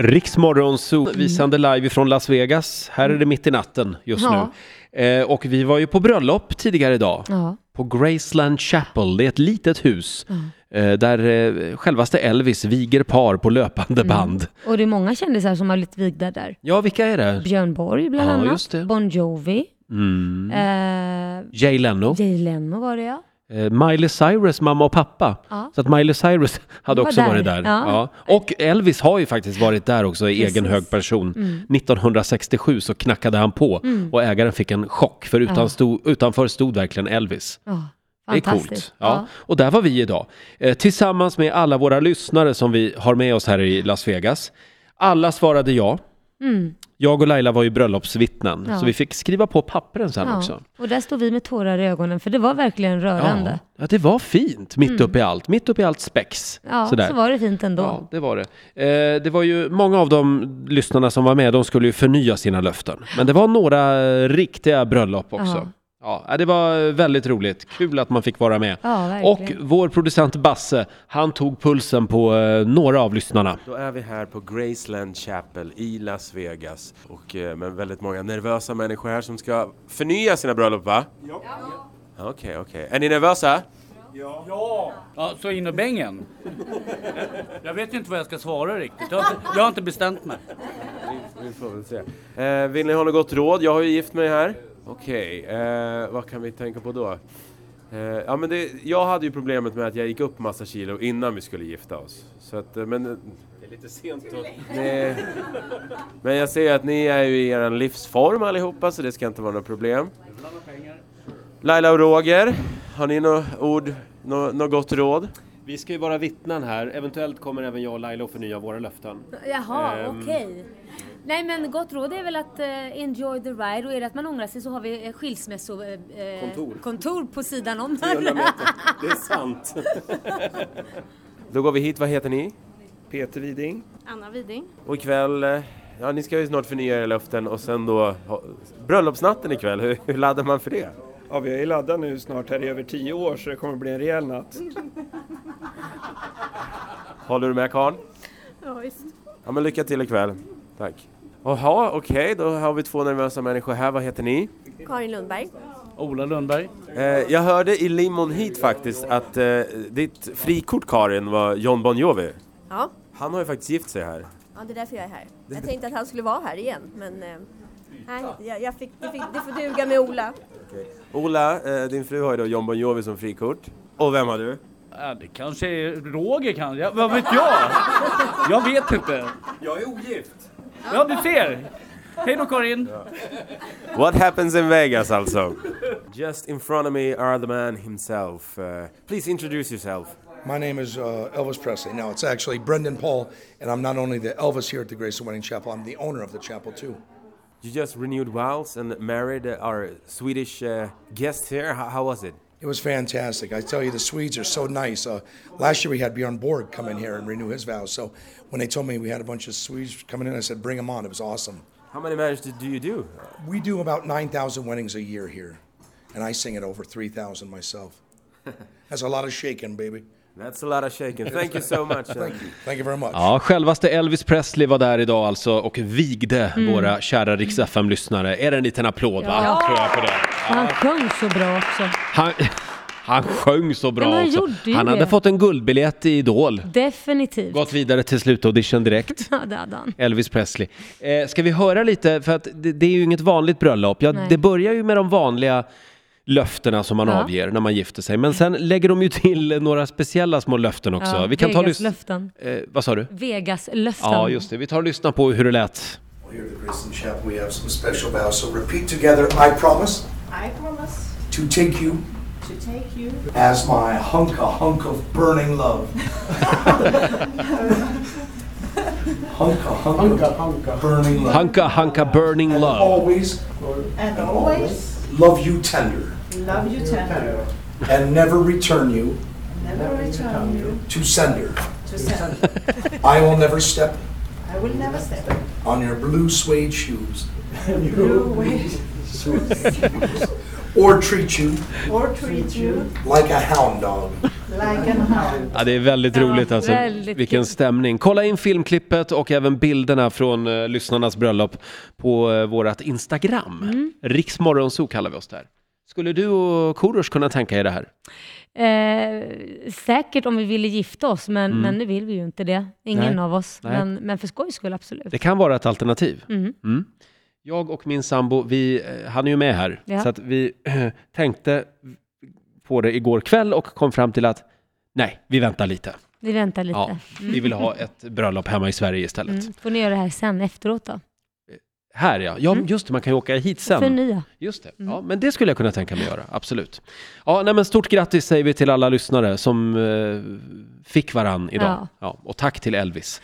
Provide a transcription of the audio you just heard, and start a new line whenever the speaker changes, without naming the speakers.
Riksmorgonzoo
Mm.
visande live från Las Vegas. Här är det mitt i natten just
Ja.
nu. Eh, och vi var ju på bröllop tidigare idag.
Ja.
På Graceland Chapel. Det är ett litet hus.
Mm.
Eh, där eh, självaste Elvis viger par på löpande
Mm.
band.
Och det är många kändisar som har blivit vigda där.
Ja, vilka är det?
Björn Borg bland
Ja,
annat,
just det.
Bon Jovi,
Mm.
eh,
Jay Leno.
Jay Leno var det ja.
Eh, Miley Cyrus mamma och pappa.
Ja.
Så att Miley Cyrus hade
Var
också
där.
varit där.
Ja.
Ja. Och Elvis har ju faktiskt varit där också i egen
Precis. Mm.
hög person. 1967 så knackade han på och ägaren fick en chock för utan
Ja.
stod, utanför stod verkligen Elvis.
ja.
Det är
Fantastiskt.
coolt. Ja. Och där var vi idag. Eh, tillsammans med alla våra lyssnare som vi har med oss här i Las Vegas. Alla svarade ja.
Mm.
Jag och Laila var ju bröllopsvittnen,
Ja.
så vi fick skriva på pappren sen
Ja.
också.
Och där står vi med tårar i ögonen, för det var verkligen rörande.
Ja, ja, det var fint mitt uppe i allt. Mitt uppe i allt spex.
Mm. Ja,
Sådär.
så var det fint ändå.
Ja, det var det. Eh, det var ju många av de lyssnarna som var med, de skulle ju förnya sina löften. Men det var några eh, riktiga bröllop också.
Ja.
Ja. eh, det var väldigt roligt. Kul att man fick vara med.
Ja,
Och
verkligen.
vår producent Basse, han tog pulsen på eh, några av lyssnarna.
Då är vi här på Graceland Chapel i Las Vegas. Och, eh, men väldigt många nervösa människor här som ska förnya sina bröllop va? Ja. Okej, okej. Är ni nervösa?
Ja, så in i bängen. Jag vet inte vad jag ska svara riktigt. Jag har inte, jag har inte bestämt mig.
Vi får väl se. Eh, vill ni ha något gott råd? Jag har ju gift mig här. Okej, eh, vad kan vi tänka på då? Eh, ja, men det, jag hade ju problemet med att jag gick upp massa kilo innan vi skulle gifta oss. Så att, eh, men... Det är lite sent Nej. Men jag ser att ni är ju i er livsform allihopa, så det ska inte vara något problem. Laila och Roger, har ni något ord, något nå gott råd?
Vi ska ju vara vittnen här. Eventuellt kommer även jag och Laila att förnya våra löften.
Jaha, okej. Nej men gott råd är väl att eh, enjoy the ride och är det att man ångrar sig så har vi eh, skilsmässokontor eh,
Kontor.
kontor på sidan om.
Det är sant.
Då går vi hit, vad heter ni?
Peter Widing.
Anna Widing.
Och ikväll, eh, ja ni ska ju snart förnya era löften och sen då ha, bröllopsnatten ikväll, hur, hur laddar man för det?
Ja, vi har ju laddat nu snart här i över tio år så det kommer bli en rejäl natt.
Håller du med Karl?
Ja, visst.
Ja men lycka till ikväll. Tack. Jaha, okej, då har vi två nervösa människor här, vad heter ni?
Karin Lundberg.
Ola Lundberg.
Eh, jag hörde i Limon hit faktiskt att eh, ditt frikort Karin var John Bon Jovi.
Ja.
Han har ju faktiskt gift sig här.
ja, det är därför jag är här. Jag tänkte att han skulle vara här igen, men eh, nej, jag, jag fick, det, fick, det får duga med Ola.
Ola, eh, din fru har ju då John Bon Jovi som frikort. Och vem har du?
Ja, det kanske är Roger kanske. Ja, Vad vet jag? Jag vet inte.
Jag är ogift!
Ja, du ser. Hej då Karin.
What happens in Vegas alltså? Just in front of me are the man himself. Uh, please introduce yourself.
My name is uh, Elvis Presley. Now it's actually Brendan Paul, and I'm not only the Elvis here at the Grace Wedding Chapel, I'm the owner of the chapel too.
You just renewed vows and married uh, our Swedish uh, guest here. How, how was it?
It was fantastic. I tell you, the Swedes are so nice. Uh, last year we had Björn Borg come in here and renew his vows. So when they told me we had a bunch of Swedes coming in, I said, bring them on. It was awesome.
How many marriages did- do you do?
We do about 9,000 weddings a year here, and I sing at over 3,000 myself. That's a lot of shaking, baby.
That's a lot of shaking. Thank you so much. Thank you.
Thank you very much.
Ja, självaste Elvis Presley var där idag alltså och vigde våra kära Rix FM-lyssnare. Är det en liten applåd va?
Mm. Ja.
Tror jag på det.
Och Han sjöng så bra också.
Han, han sjöng så bra
Ja, men han
också.
gjorde ju
Han
det.
hade fått en guldbiljett i Idol.
Definitivt.
Gått vidare till slutaudition direkt.
Ja, det hade han.
Elvis Presley. Eh, ska vi höra lite, för att det, det är ju inget vanligt bröllop. Ja,
Nej.
det börjar ju med de vanliga löftena som man
Ja.
avger när man gifter sig. Men sen lägger de ju till några speciella små löften också.
Ja,
vi kan ta
Vegas
lys-
löften.
eh, Vad sa du?
Vegas löften.
Ja, just det. Vi tar och lyssnar på hur det lät.
Here at the Graceland Chapel, we have some special vows. So repeat together I promise
I promise
to take you
to take you
as my hunk a hunk of burning love. hunk a hunk, of burning love.
Hanka Hanka Burning
and
Love.
always
and always
love you tender
love you tender,
and never return you
never return you
to sender.
to send.
I will never step
I will never step
on your blue suede shoes
blue way
or treat you
or treat you
like a hound dog.
like an hound.
Ja, det är väldigt
Ja,
roligt alltså.
väldigt
Vilken
kul.
stämning. Kolla in filmklippet och även bilderna från eh, lyssnarnas bröllop på eh, vårat Instagram. Mm. Riksmorgonzoo kallar vi oss där. Skulle du och Korosh kunna tänka er det här?
Eh, säkert om vi ville gifta oss, men, men nu vill vi ju inte det. Ingen
Mm. Nej.
av oss.
Nej.
Men, men för skojs skull, absolut.
Det kan vara ett alternativ.
Mm.
Mm. Jag och min sambo, vi, eh, han är ju med här,
Ja.
så att vi eh, tänkte på det igår kväll och kom fram till att nej, vi väntar lite.
Vi väntar lite.
Ja, vi vill ha ett bröllop hemma i Sverige istället.
Mm. Får ni göra det här sen, efteråt då?
Här ja, ja just det, man kan ju åka hit sen.
Förnya.
Just det. Ja, men det skulle jag kunna tänka mig att göra, absolut. Ja, nej, men stort grattis säger vi till alla lyssnare som eh, fick varann idag. Ja.
Ja.
och tack till Elvis.